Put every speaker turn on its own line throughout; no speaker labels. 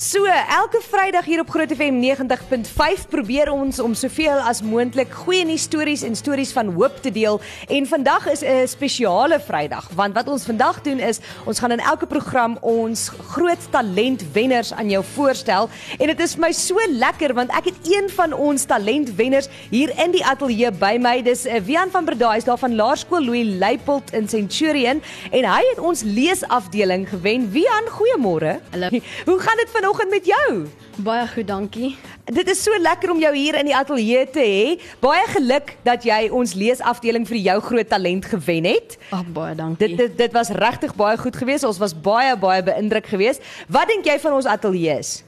So, elke Vrydag hier op Groot FM 90.5 probeer ons om soveel as moontlik goeie nuus stories en stories van hoop te deel. En vandag is 'n spesiale Vrydag, want wat ons vandag doen is ons gaan in elke program ons groot talentwenners aan jou voorstel. En dit is vir my so lekker want ek het een van ons talentwenners hier in die ateljee by my. Dis eh, Wian van Berdaai, hy's daar van Laerskool Louis Leipold in Centurion en hy het ons leesafdeling gewen. Wian, goeiemôre.
Hallo.
Hoe gaan dit vanoggend met jou?
Baie goed, dankie.
Dit is so lekker om jou hier in die ateljee te hê. Baie geluk dat jy ons leesafdeling vir jou groot talent gewen het.
Ag, baie dankie.
Dit dit, dit was regtig baie goed geweest. Ons was baie baie beïndruk geweest. Wat dink jy van ons ateljee? Is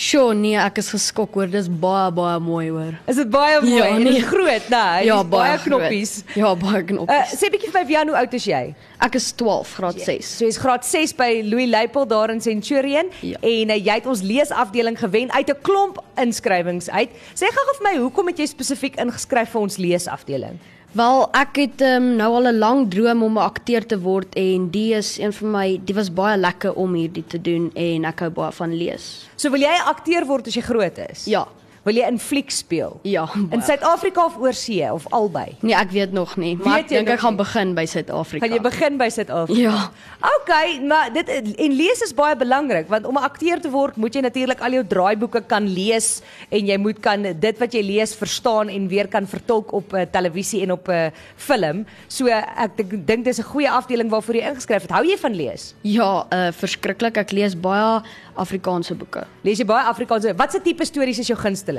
Sjoe, nee, ek is geskok hoor. Dis baie baie mooi hoor.
dit baie mooi?
Ja,
en dit
nee.
is groot, né? Nou, ja, baie, baie
groot.
knoppies.
Ja, baie
Uh,
knoppies.
sê bietjie vir my, Jan, hoe oud is jy?
ek is 12 graad
Ja.
6.
So jy's graad 6 by Louis Leipold daar in Centurion
Ja.
en uh, jy het ons leesafdeling gewen uit 'n klomp inskrywings uit. Sê gou vir my, hoekom het jy spesifiek ingeskryf vir ons leesafdeling?
Wel, ek het um, nou al 'n lang droom om 'n akteur te word en die is een van my, dit was baie lekker om hierdie te doen en ek hou baie van lees.
So wil jy 'n akteur word as jy groot is?
Ja.
Wil jy in fliek speel?
Ja.
In
baie.
Suid-Afrika of oorsee of albei?
Nee, ek weet nog nie, maar
Weet
ek
jy
dink
nog
ek gaan
nie?
begin by Suid-Afrika.
Gaan jy begin by Suid-Afrika?
Ja.
OK, maar dit en lees is baie belangrik want om 'n akteur te word moet jy natuurlik al jou draaiboeke kan lees en jy moet kan dit wat jy lees verstaan en weer kan vertolk op uh, televisie en op 'n uh, film. So ek dink- dink dis 'n goeie afdeling waarvoor jy ingeskryf het. Hou jy van lees?
Ja, uh, verskriklik. Ek lees baie Afrikaanse boeke.
Lees jy baie Afrikaanse? Watse tipe stories is jou gunsteling?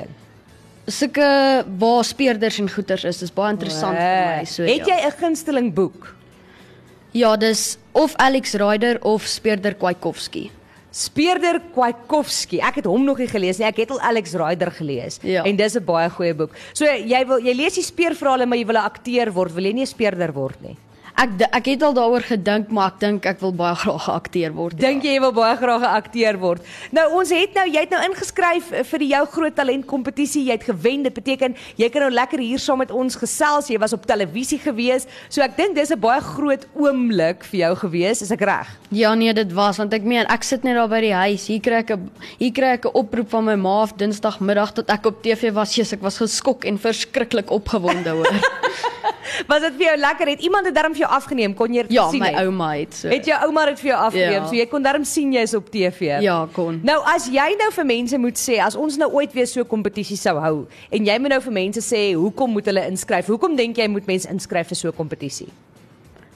Sulke waar speerders en goeters is, dis baie interessant vir my. So
Eh, het
ja.
jy 'n gunsteling boek?
Ja, dis of Alex Ryder of Speerder Kwaikovski.
Speerder Kwaikovski. Ek het hom nog nie gelees nie. Ek het al Alex Rider gelees
Ja.
en dis 'n baie goeie boek. So jy wil jy lees die speerverhale maar jy wil 'n akteur word. Wil jy nie 'n speerder word nie?
Ek d- ek het al daaroor gedink, maar ek dink ek wil baie graag 'n akteur word.
Dink jy jy wil baie graag 'n akteur word? Nou ons het nou jy het nou ingeskryf eh, vir die jou groot talent kompetisie. Jy het gewen. Dit beteken jy kan nou lekker hier saam met ons gesels. Jy was op televisie gewees. So ek dink dis 'n baie groot oomblik vir jou gewees. Is ek reg?
Ja nee, dit was want ek meen ek sit net daar by die huis. Hier kry ek 'n hier kry ek 'n oproep van my ma af Dinsdagmiddag tot ek op TV was. Jesus, ek was geskok en verskriklik opgewonde hoor.
Was dit vir jou lekker? Het iemand dit darm vir jou afgeneem? Kon jy dit
ja,
sien?
my
het?
ouma het so.
Het jou ouma dit vir jou afgeneem,
Ja.
so jy kon darm sien jy's op TV.
Ja, kon.
Nou as jy nou vir mense moet sê, as ons nou ooit weer so 'n kompetisie sou hou en jy moet nou vir mense sê, hoekom moet hulle inskryf? Hoekom dink jy moet mense inskryf vir so 'n kompetisie?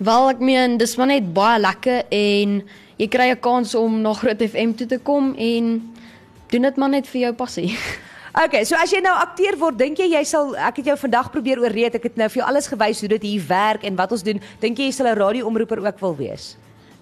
Wel, ek meen dis maar net baie lekker en jy kry 'n kans om na Groot FM toe te kom en doen dit maar net vir jou passie.
Okay, so as jy nou akteur word, dink jy jy sal ek het jou vandag probeer ooreed, ek het nou vir jou alles gewys hoe dit hier werk en wat ons doen. Dink jy jy sal 'n radioomroeper ook wil wees?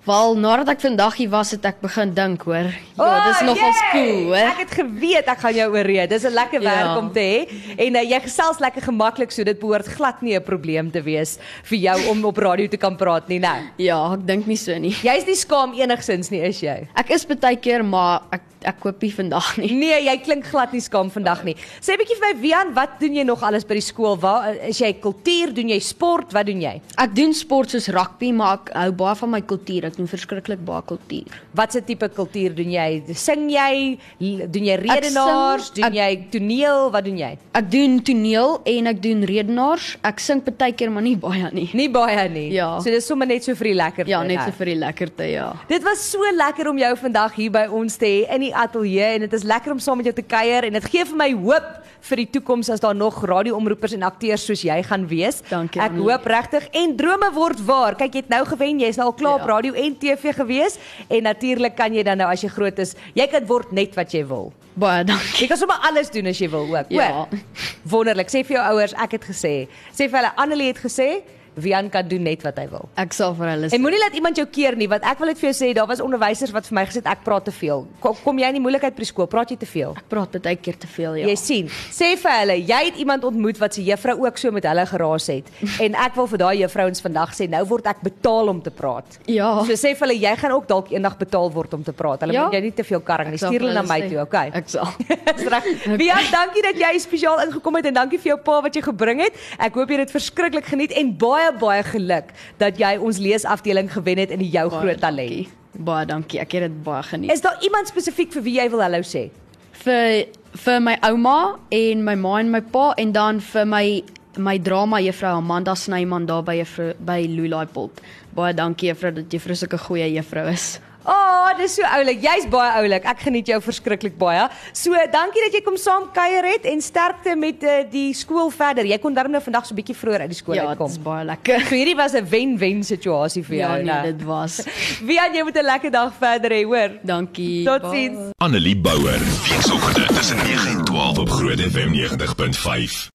Wel, nadat ek vandag hier was, het ek begin dink, hoor. Ja, oh, dis
O,
nogals
jee!
cool, hoor.
Ek het geweet ek gaan jou ooreed. Dis 'n lekker werk
Ja.
om te hê en uh, jy gesels lekker gemaklik, so dit behoort glad nie 'n probleem te wees vir jou om op radio te kan praat nie, nou.
Ja, ek dink nie so nie.
Jy's nie skaam enigsins nie, is jy?
Ek is baie keer, maar ek ek koop nie vandag nie.
Nee, jy klink glad nie skaam vandag nie. Sê 'n bietjie vir my, Wian, wat doen jy nog alles by die skool? Waar is jy kultuur? Doen jy sport? Wat doen jy?
Ek doen sport soos rugby, maar ek hou baie van my kultuur. Ek doen verskriklik baie kultuur.
Watse tipe kultuur doen jy? Sing jy? L- Doen jy
Ek sing,
redenaars? Doen
ek-
jy toneel? Wat doen jy?
Ek doen toneel en ek doen redenaars. Ek sing baie keer, maar nie baie nie.
Nie baie nie.
Ja.
So dis sommer net so vir die lekker. eh,
Ja, net so vir die lekkerte, ja.
Dit was so lekker om jou vandag hier by ons te hê in die ateljee en dit is lekker om saam met jou te kuier en dit gee vir my hoop vir die toekoms as daar nog radioomroepers en akteurs soos jy gaan wees.
Dankie,
Ek
Annelie.
hoop regtig en drome word waar. Kyk, jy het nou gewen, jy's nou al klaar op
Ja.
radio en TV gewees en natuurlik kan jy dan nou as jy groot is, jy kan word net wat jy wil.
Baie dankie.
Jy kan sommer alles doen as jy wil ook.
Ja.
Hoor? Wonderlik. Sê vir jou ouers, ek het gesê. Sê vir hulle Annelie het gesê, Wian kan doen net wat hy wil.
Ek sal vir hulle
En
sê.
moenie laat iemand jou keer nie, want ek wil dit vir jou sê, daar was onderwysers wat vir my gesê het ek praat te veel. Kom, kom jy in die moeilikheid by skool, praat jy te veel.
Ek praat baie keer te veel, ja.
Jy sien, sê vir hulle, jy het iemand ontmoet wat se juffrou ook so met hulle geraas het. En ek wil vir daai juffrouens vandag sê, nou word ek betaal om te praat.
Ja.
So sê vir hulle, jy gaan ook dalk eendag betaal word om te praat. Hulle
Ja.
moet jou nie te veel karring nie.
Ek sal
Stuur
vir
hulle na my
hulle sê.
toe, okay?
Ek sal.
Dis reg. Bia, dankie dat jy spesiaal ingekom het en dankie vir jou pa wat jy gebring het. Ek hoop jy het dit verskriklik geniet en baie baie geluk dat jy ons leesafdeling gewen het in die jou
Baie
groot talent.
dankie. Baie dankie. Ek het dit baie geniet.
Is daar iemand spesifiek vir wie jy wil hallo sê?
Vir vir my ouma en my ma en my pa en dan vir my my drama juffrou Amanda Snyman daar by juffrou by Lulaipot. Baie dankie juffrou dat juffrou sulke goeie juffrou is.
O, oh, dis so oulik. Jy's baie oulik. Ek geniet jou verskriklik baie. So, dankie dat jy kom saam kuier het en sterkte met uh, die skool verder. Jy kon darm nou vandag so 'n bietjie vroeër uit die skool
Ja, dit
uitkom.
is baie lekker.
So hierdie was 'n wen-wen situasie vir
Ja,
jou, nou.
nee, dit was.
Wie aan jy moet 'n lekker dag verder hê, hoor.
Dankie.
Totsiens.
Annelie Bouwer, weekoggend tussen 9 en 12 op Groot FM 90.5.